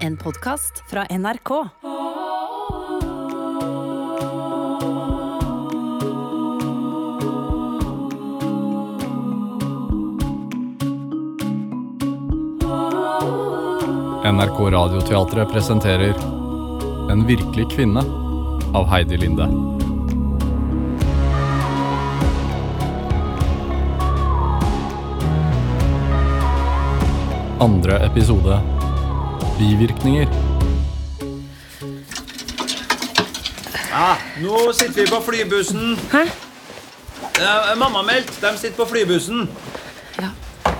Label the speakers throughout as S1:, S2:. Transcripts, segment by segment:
S1: En podkast fra NRK.
S2: NRK Radioteatret presenterer En virkelig kvinne av Heidi Linde. Andre episode Bivirkninger.
S3: Ja, nå sitter vi på flybussen.
S1: Hæ?
S3: Eh, mamma meldt. De sitter på flybussen.
S1: Ja.
S3: Å,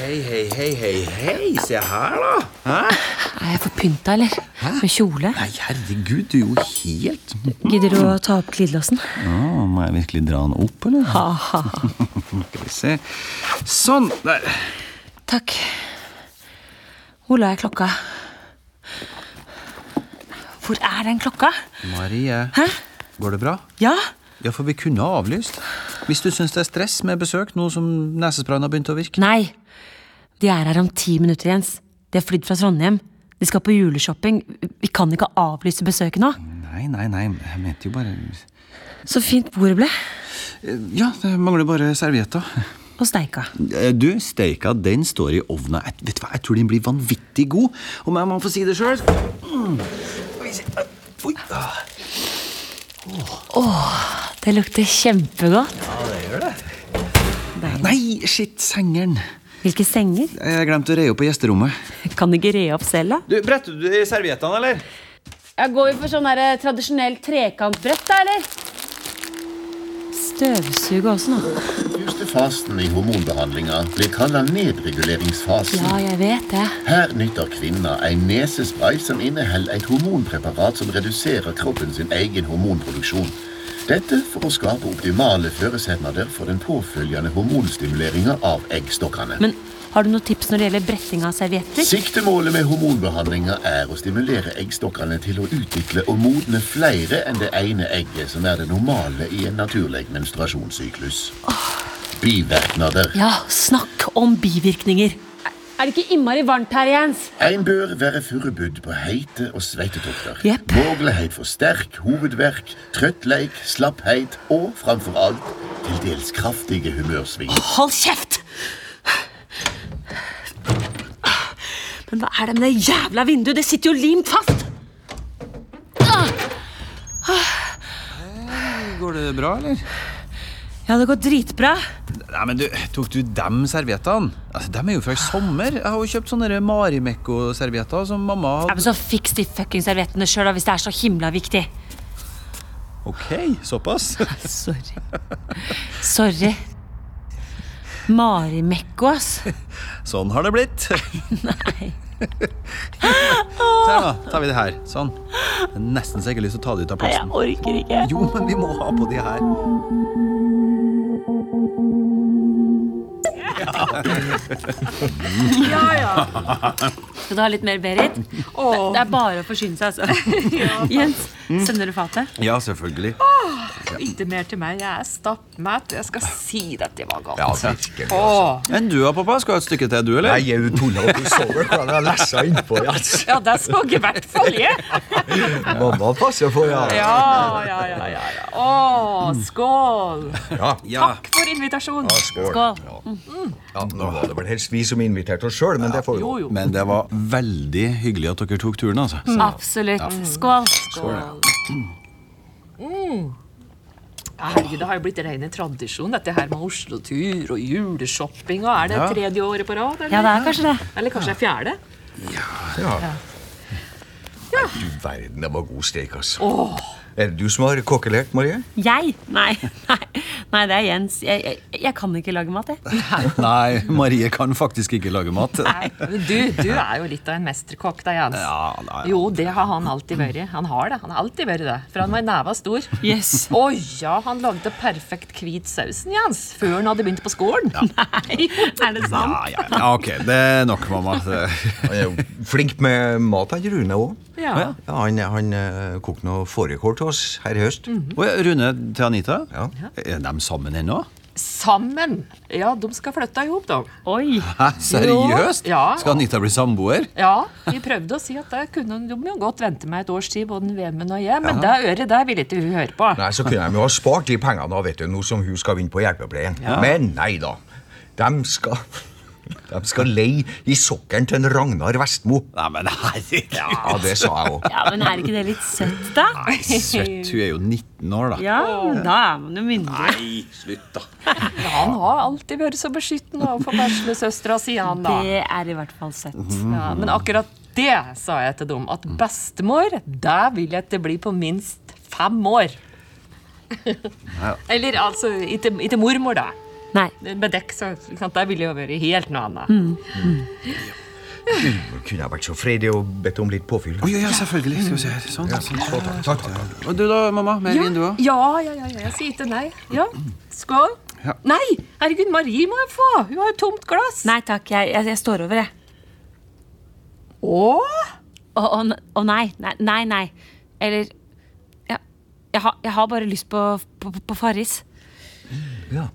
S3: hei, hei, hei, hei, hei. Se her, da. Hæ?
S1: Er jeg forpynta, eller? Med kjole?
S3: Nei, herregud, du er jo helt
S1: Gidder du å ta opp glidelåsen?
S3: Å, Må jeg virkelig dra den opp, eller?
S1: Ha-ha.
S3: Skal vi se. Sånn. Der.
S1: Takk. Hvor la jeg klokka? Hvor er den klokka?
S3: Marie,
S1: Hæ?
S3: går det bra?
S1: Ja?
S3: Ja, for vi kunne ha avlyst. Hvis du syns det er stress med besøk nå som nesesprayen har begynt å virke.
S1: Nei. De er her om ti minutter, Jens. De har flydd fra Trondheim. De skal på juleshopping. Vi kan ikke avlyse besøket nå.
S3: Nei, nei, nei. Jeg mente jo bare
S1: Så fint bordet ble.
S3: Ja, det mangler bare servietter.
S1: Og steika.
S3: Eh, Du, steika, den står i ovna. Jeg, vet du hva, jeg tror den blir vanvittig god. Om jeg må få si det Mm. sjøl. Oi. ah.
S1: Det lukter kjempegodt.
S3: Nei, shit, sengeren.
S1: Hvilke senger?
S3: Jeg glemte å re opp på gjesterommet.
S1: Kan du ikke re opp selv, da?
S3: Du, Bretter du serviettene, eller?
S4: Ja, Går vi for sånn der, eh, tradisjonell trekantbrett, da, eller?
S1: Støvsuge også nå.
S5: Første fasen i hormonbehandlinga blir kalla nedreguleringsfasen.
S1: Ja, jeg vet det.
S5: Her nytter kvinna en nesespray som inneholder et hormonpreparat som reduserer kroppen sin egen hormonproduksjon. Dette for å skape optimale forutsetninger for den påfølgende hormonstimuleringa av eggstokkene.
S1: Men har du noen tips når det gjelder bretting av servietter?
S5: Siktemålet med hormonbehandlinga er å stimulere eggstokkene til å utvikle og modne flere enn det ene egget, som er det normale i en naturlig menstruasjonssyklus. Bivirknader.
S1: Ja, snakk om bivirkninger.
S4: Er det ikke innmari varmt her, Jens?
S5: En bør være forberedt på heite og sveitetokter.
S1: Jepp.
S5: Mulighet for sterk hovedverk, trøttleik, slapphet og framfor alt til dels kraftige humørsving.
S1: Hold kjeft! Men hva er det med det jævla vinduet? Det sitter jo limt fast!
S3: Går det bra, eller?
S1: Ja, det går dritbra.
S3: Nei, men du, Tok du dem serviettene? Altså, dem er jo fra i sommer. Jeg har jo kjøpt sånne der Marimekko-servietter som mamma
S1: Ja, men
S3: hadde.
S1: Så fiks de fucking serviettene sjøl, hvis det er så himla viktig.
S3: Ok, såpass?
S1: Sorry. Sorry. Mari Mekko, ass.
S3: Sånn har det blitt.
S1: Nei.
S3: Se her, da. Tar vi det her. Sånn. Det er Nesten så jeg ikke har lyst til å ta det ut av
S1: Jeg
S3: posten.
S1: orker ikke.
S3: Jo, men vi må ha på de her.
S1: Skal du ha litt mer, Berit? Det, det er bare å forsyne seg, altså. Jens, sender du fatet?
S3: Ja, selvfølgelig.
S6: Ikke mer til meg. Jeg er stappmett. Jeg skal si at det var godt.
S7: Ja, virkelig.
S6: Åh,
S3: Enn du, da, pappa? Skal du ha et stykke til, du, eller?
S7: Nei, jeg er jo tulla og sover. Hvordan har jeg lesja innpå? Ja.
S6: ja, det så jeg i hvert fall jeg.
S7: Mamma passer på, ja.
S6: Ja, ja, ja. ja, ja. Åh, skål.
S7: Ja.
S6: Takk for invitasjonen.
S7: Skål.
S1: Skål.
S7: Ja. Ja, nå var det vel helst vi som inviterte oss sjøl, men det får vi
S6: Jo, jo.
S3: Men det var veldig hyggelig at dere tok turen, altså.
S1: Absolutt. Skål.
S6: Herregud, det har jo blitt ren tradisjon, dette her med Oslo-tur og juleshopping. Og er det tredje året på rad? Eller,
S1: Ja, det er kanskje det.
S6: eller kanskje det er fjerde?
S7: Ja. Du verden, det var god steik, altså. Er det du som har kokkelert, Marie?
S1: Jeg? Nei, nei, nei det er Jens. Jeg, jeg, jeg kan ikke lage mat, jeg.
S3: Nei, Marie kan faktisk ikke lage mat.
S6: Nei, men du, du er jo litt av en mesterkokk, da, Jens.
S3: Ja, nei.
S6: Jo, det har han alltid vært. Han har det. Han har alltid vært det. For han var neva stor.
S1: Yes.
S6: Å ja, han lagde perfekt hvit sausen, Jens, før han hadde begynt på skolen.
S1: Nei, er det sant?
S3: Ja, ja, ja, ok, det er nok, mamma. Det-
S7: Han er jo flink med mat, han Rune òg.
S6: Ja.
S7: Ja, han han eh, kokte noe fårikål til oss her i høst.
S3: Oi, Rune til Anita?
S7: Ja.
S3: Er de sammen ennå?
S6: Sammen. Ja, de skal flytte ihop, de.
S1: Oi!
S3: Hæ, seriøst?
S6: Ja.
S3: Skal Anita bli samboer?
S6: Ja, vi prøvde å si at det kunne de jo godt vente meg et års tid, både Vemund og jeg, men det øret der ville ikke hun høre på.
S7: Nei, så kunne de jo ha spart de pengene da, vet du, nå som hun skal vinne på hjelpepleien. Men nei da. De skal, de skal leie i sokkelen til en Ragnar Vestmo.
S3: Nei, men herregud.
S7: Ja, det sa jeg òg.
S1: Ja, men er ikke det litt søtt, da?
S3: Søtt. Hun er jo 19 år, da.
S1: Ja, men da er man jo myndig.
S3: Nei, slutt, da.
S6: Han har alltid vært så beskyttende overfor veslesøstera, sier han da.
S1: Det er i hvert fall søtt.
S6: Ja, men akkurat det sa jeg til dem, at bestemor, det vil jeg ikke bli på minst fem år. Eller altså, ikke ikke mormor, da.
S1: Nei.
S6: Bedekk, så ikke sant? det ville jo vært helt noe annet.
S7: Kunne jeg vært så fredig og bedt om litt påfyll?
S3: Oi, ja, selvfølgelig. Skal vi se her. Sånn. sånn.
S7: Takk, takk, takk, takk.
S3: Og du da, mamma? Mer
S6: Ja,
S3: vin, du òg?
S6: ja, ja, ja, ja, jeg sier ikke nei. Ja, Skål.
S3: Ja.
S6: Nei, herregud, Marie må jeg få. Hun har jo tomt glass.
S1: Nei takk, jeg, jeg, jeg står over, jeg.
S6: Åh,
S1: Å å, n- å, nei. nei. Nei, nei. Eller ja, jeg, har- jeg har bare lyst på, på, på Farris.
S7: Ja.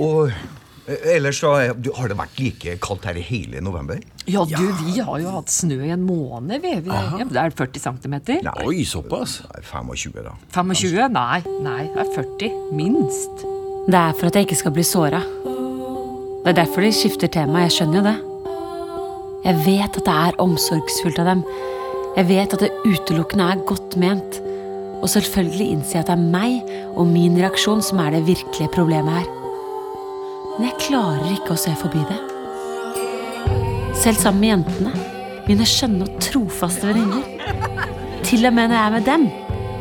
S7: Og eh, ellers, da? du- Har det vært like kaldt her i hele november?
S6: Ja, du, vi har jo hatt snø i en måned. Vi. Vi, ja, det er 40 cm.
S3: Oi, såpass?
S7: Nei, 25, da.
S6: 25? Nei, nei, det er 40. Minst.
S1: Det er for at jeg ikke skal bli såra. Det er derfor de skifter tema. Jeg skjønner jo det. Jeg vet at det er omsorgsfullt av dem. Jeg vet at det utelukkende er godt ment. Og selvfølgelig innser jeg at det er meg og min reaksjon som er det virkelige problemet her. Men jeg klarer ikke å se forbi det. Selv sammen med jentene, mine skjønne og trofaste venninner. Til og med når jeg er med dem,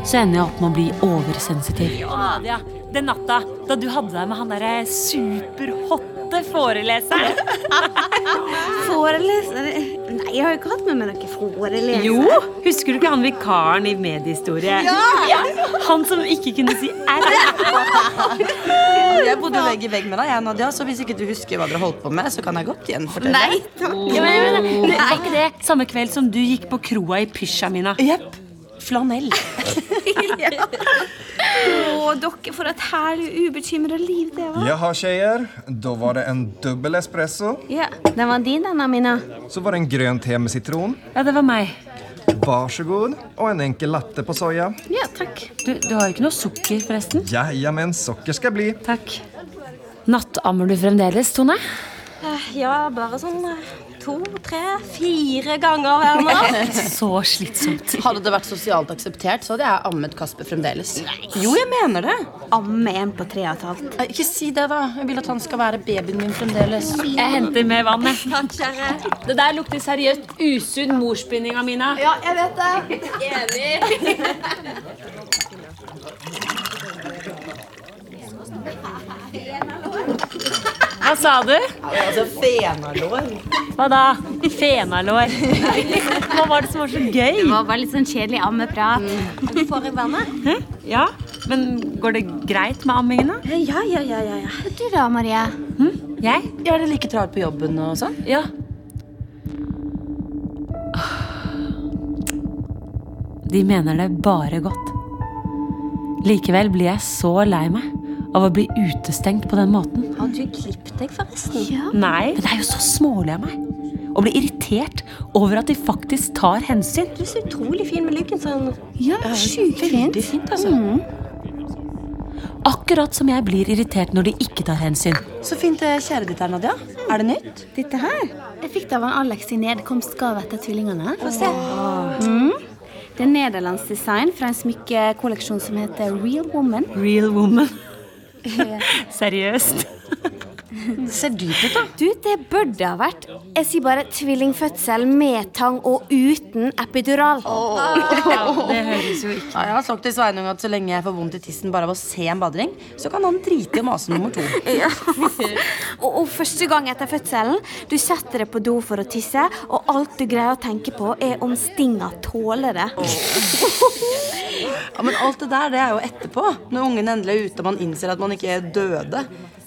S1: så ender jeg opp med å bli oversensitiv. Nadia, den natta da du hadde deg med han derre superhotte foreleseren.
S8: Foreleser Nei, jeg har jo ikke hatt med meg noen foreleser.
S1: Jo, husker du ikke han vikaren i mediehistorie? Ja! Han som ikke kunne si R.
S9: Jeg bodde jo vegg i vegg med deg, jeg, Nadia, så hvis ikke du husker hva dere holdt på med, så kan jeg godt gjenfortelle.
S8: Nei, takk.
S1: Ja, men, men, men, var ikke det samme kveld som du gikk på kroa i pysjamina?
S9: Jepp. Flanell.
S8: Å, dere for et herlig ubekymra liv det var.
S10: Jaha, tjejer. Da var det en dubbel espresso.
S8: Ja, Den var din, den, Amina.
S10: Så var det en grønn te med sitron.
S1: Ja, det var meg.
S10: Varsågod. Og en enkel latte på soya.
S8: Ja, takk.
S1: Du, du har jo ikke noe sukker, forresten.
S10: Jajamän, socker skal bli.
S1: Takk. Nattammer du fremdeles, Tone?
S8: Eh, Ja, bare sånn eh, to, tre, fire ganger hver natt.
S1: Så slitsomt.
S9: Hadde det vært sosialt akseptert, så hadde jeg ammet Kasper fremdeles. Jo, jeg mener det.
S8: Amme en på tre og et halvt.
S9: Nei, Ikke si det, da. Jeg vil at han skal være babyen min fremdeles.
S1: Jeg henter mer vann, jeg.
S8: Takk, kjære.
S1: Det der lukter seriøst usunn morsbinding, Amina.
S8: Ja, jeg vet det. Enig.
S1: Hva sa du?
S9: Altså, fenalår.
S1: Hva da? Fenalår. Hva var det som var så gøy?
S8: Det var bare litt sånn kjedelig ammeprat. Får jeg være med?
S1: Ja, men går det greit med ammingen da?
S8: Eh, Ja, ja, ja, ja. Du da, Maria?
S1: Jeg?
S9: Ja, er det like travelt på jobben og sånn?
S1: Ja. De mener det bare godt. Likevel blir jeg så lei meg av å bli utestengt på den måten.
S8: Har du klippet deg, forresten? Ja.
S1: Nei. Men det er jo så smålig av meg. Å bli irritert over at de faktisk tar hensyn.
S8: Du er så utrolig fin med luggen sånn. Ja, sjukt fint.
S9: Veldig fint, altså.
S1: altså. Akkurat som jeg blir irritert når de ikke tar hensyn.
S9: Så fint eh, kjæret ditt her, Nadia. Er det nytt?
S8: Dette her? Jeg fikk det av en Alex i nedkomstgave etter tvillingene. Få se. Mm. Det er nederlandsk design fra en smykkekolleksjon som heter Real Woman.
S1: Real woman. Seriøst.
S9: Det ser dyrt ut, da.
S8: Du, det burde det ha vært. Jeg sier bare tvillingfødsel med tang og uten epidural.
S9: Ja, jeg har sagt til Sveinung at så lenge jeg får vondt i tissen bare av å se en badering, så kan han drite i å mase nummer to.
S8: Og, og første gang etter fødselen, du setter deg på do for å tisse, og alt du greier å tenke på, er om stinga tåler det.
S9: Ja, men alt det der, det er jo etterpå. Når ungen endelig er ute og man innser at man ikke er døde.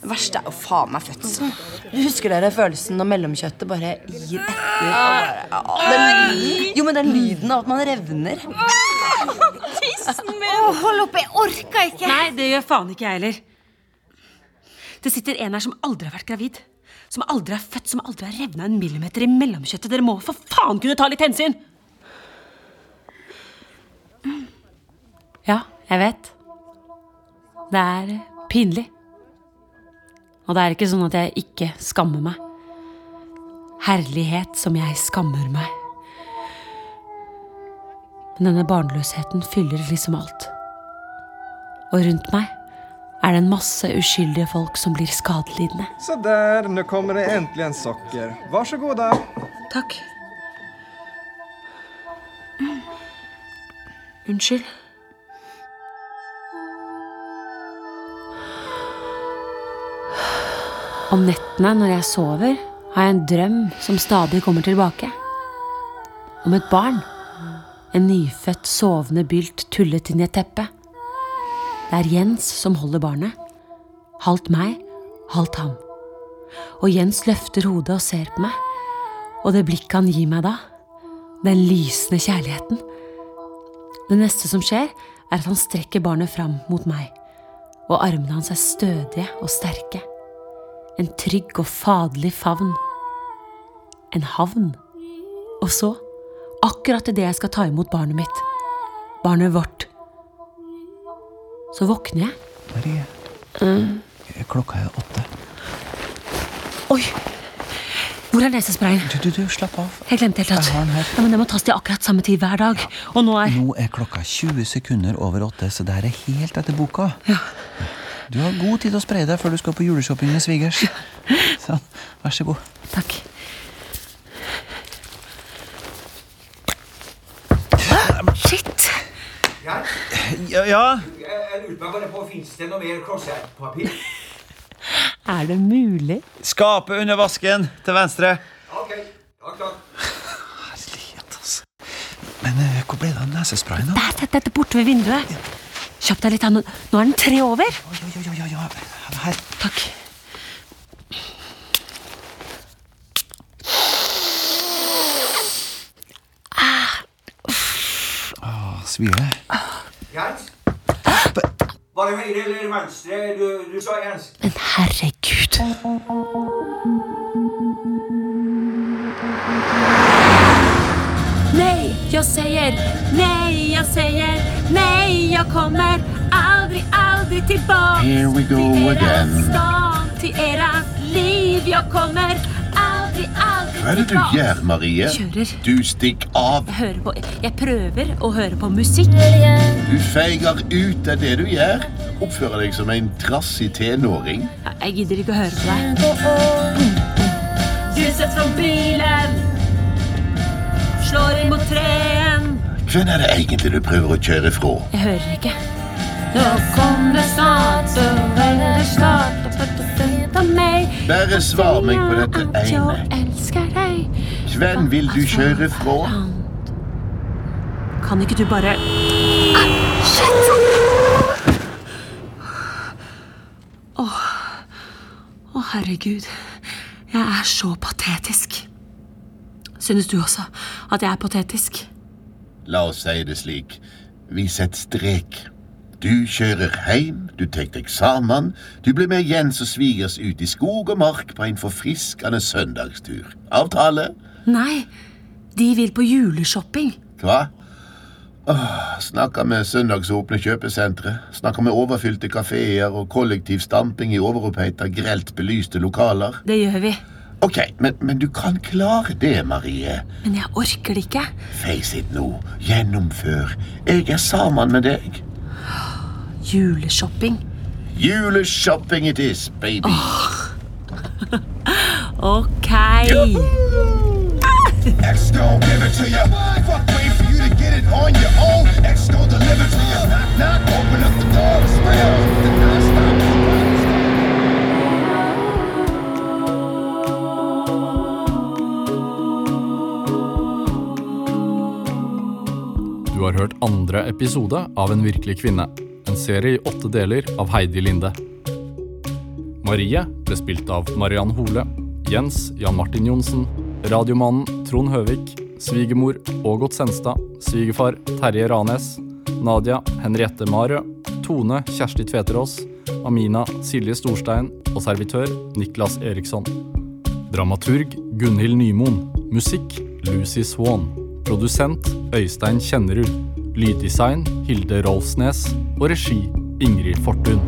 S9: Det verste er jo faen meg fødselen. Du husker dere følelsen når mellomkjøttet bare gir etter? og bare- ja, den lyden. Jo, men den lyden av at man revner.
S8: Å, hold opp, jeg orker ikke!
S1: Nei, det gjør faen ikke jeg heller. Det sitter en her som aldri har vært gravid. Som aldri er født, som aldri har revna en millimeter i mellomkjøttet. Dere må for faen kunne ta litt hensyn! Ja, jeg vet. Det er pinlig. Og det er ikke sånn at jeg ikke skammer meg. Herlighet som jeg skammer meg. Men denne barnløsheten fyller liksom alt. Og rundt meg er det en masse uskyldige folk som blir skadelidende.
S10: Så där, nu kommer det äntligen socker. Varsågoda.
S1: Takk. Unnskyld. Om nettene når jeg sover, har jeg en drøm som stadig kommer tilbake. Om et barn. En nyfødt, sovende bylt tullet inn i et teppe. Det er Jens som holder barnet. Halvt meg, halvt ham. Og Jens løfter hodet og ser på meg. Og det blikket han gir meg da, den lysende kjærligheten. Det neste som skjer, er at han strekker barnet fram mot meg, og armene hans er stødige og sterke. En trygg og faderlig favn. En havn. Og så, akkurat idet jeg skal ta imot barnet mitt, barnet vårt, så våkner jeg.
S3: Marie, Mm. klokka er åtte.
S1: Oi! Hvor er nesesprayen?
S3: Du, du, du, slapp av.
S1: Jeg glemte helt at
S3: Jeg har den her. Mm.
S1: ja, men Det må tas til akkurat samme tid hver dag. Og nå er
S3: Nå er klokka 20 sekunder over åtte, så det her er helt etter boka. Du har god tid til å spreie deg før du skal på juleshopping med svigers. Sånn, vær så god.
S1: Takk. Shit!
S3: Ja, ja.
S11: Jeg lurte meg bare på, Fins det noe mer klossettpapir?
S1: Er det mulig?
S3: Skapet under vasken til venstre.
S11: Ok, da klart.
S3: altså. Men eh, hvor ble det av nesesprayen? da?
S1: Der, der, der, borte ved vinduet. Kjapp deg litt. da. Nå nå er den tre over.
S3: Ja, ja, ja, ja. Her.
S1: Takk.
S3: Å, Svir det?
S11: Jens? Var det høyre eller venstre du, du sa, Jens?
S1: Men herregud. Nei, jeg sier. Nei, jeg sier. Nei, jeg kommer aldri, aldri tilbake
S5: Here we go again.
S1: stan til deres liv. Jeg kommer aldri, aldri
S5: Hva er det du gjør, Marie?
S1: Kjører.
S5: Du stikker av.
S1: Jeg hører på Jeg prøver å høre på musikk.
S5: Du feiger ut. Det er det du gjør. Oppfører deg som en trassig tenåring.
S1: Jeg gidder ikke å høre på deg. Lyset fra bilen slår inn mot treen.
S5: Hvem er det egentlig du prøver å kjøre fra?
S1: Jeg hører ikke. Nå kommer snart, så veldig snart og fått å finne meg.
S5: Bare svar meg på dette ene.
S1: Jeg elsker deg.
S5: Hvem vil du
S1: Altså.
S5: kjøre fra?
S1: Kan ikke du bare Ah, Shit! Åh, Å, herregud. Jeg er så patetisk. Synes du også at jeg er patetisk?
S5: La oss si det slik. Vi setter strek. Du kjører hjem, du tar deg sammen, du blir med Jens og svigers ut i skog og mark på en forfriskende søndagstur. Avtale?
S1: Nei, de vil på juleshopping.
S5: Hva? Åh, snakker med søndagsåpne kjøpesentre, snakker med overfylte kaféer og kollektiv stamping i overoppheita, grelt belyste lokaler.
S1: Det gjør vi.
S5: Ok, men, men du kan klare det, Marie.
S1: Men jeg orker det ikke.
S5: Face it nå. Gjennomfør. Jeg er sammen med deg.
S1: Juleshopping.
S5: Juleshopping it is, baby.
S1: Ok.
S11: X gon' give it to ya. Fuck, wait for you to get it on your own. X gon' deliver to ya. Knock, knock, open up the door. It's real. The non-stop.
S2: Du har hørt andre episode av En virkelig kvinne. En serie i åtte deler av Heidi Linde. Marie ble spilt av Mariann Hole. Jens Jan Martin Johnsen. Radiomannen Trond Høvik. Svigermor Ågot Senstad. Svigerfar Terje Ranes. Nadia Henriette Marø. Tone Kjersti Tveterås. Amina Silje Storstein og servitør Niklas Eriksson. Dramaturg Gunhild Nymoen. Musikk Lucy Swan. Produsent Øystein Kjennerud. Lyddesign Hilde Rolfsnes. Og regi Ingrid Fortun.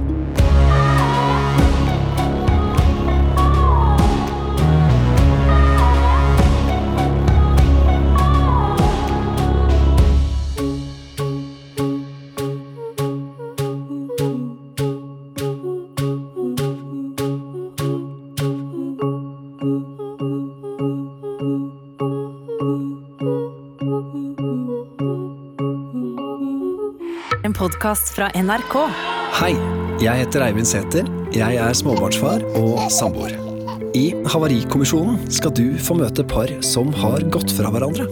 S9: En podkast fra NRK.
S7: Hei, jeg heter Eivind Sæther. Jeg er småbarnsfar og samboer. I Havarikommisjonen skal du få møte par som har gått fra hverandre.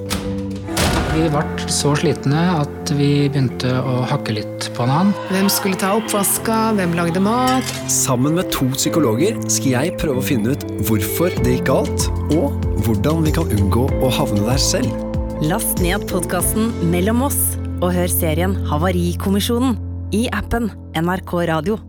S6: Vi ble så slitne at vi begynte å hakke litt på hverandre.
S12: Hvem skulle ta oppvaska? Hvem lagde mat?
S7: Sammen med to psykologer skal jeg prøve å finne ut hvorfor det gikk galt, og hvordan vi kan unngå å havne der selv.
S9: Last ned podkasten Mellom oss og hør serien Havarikommisjonen i appen NRK Radio.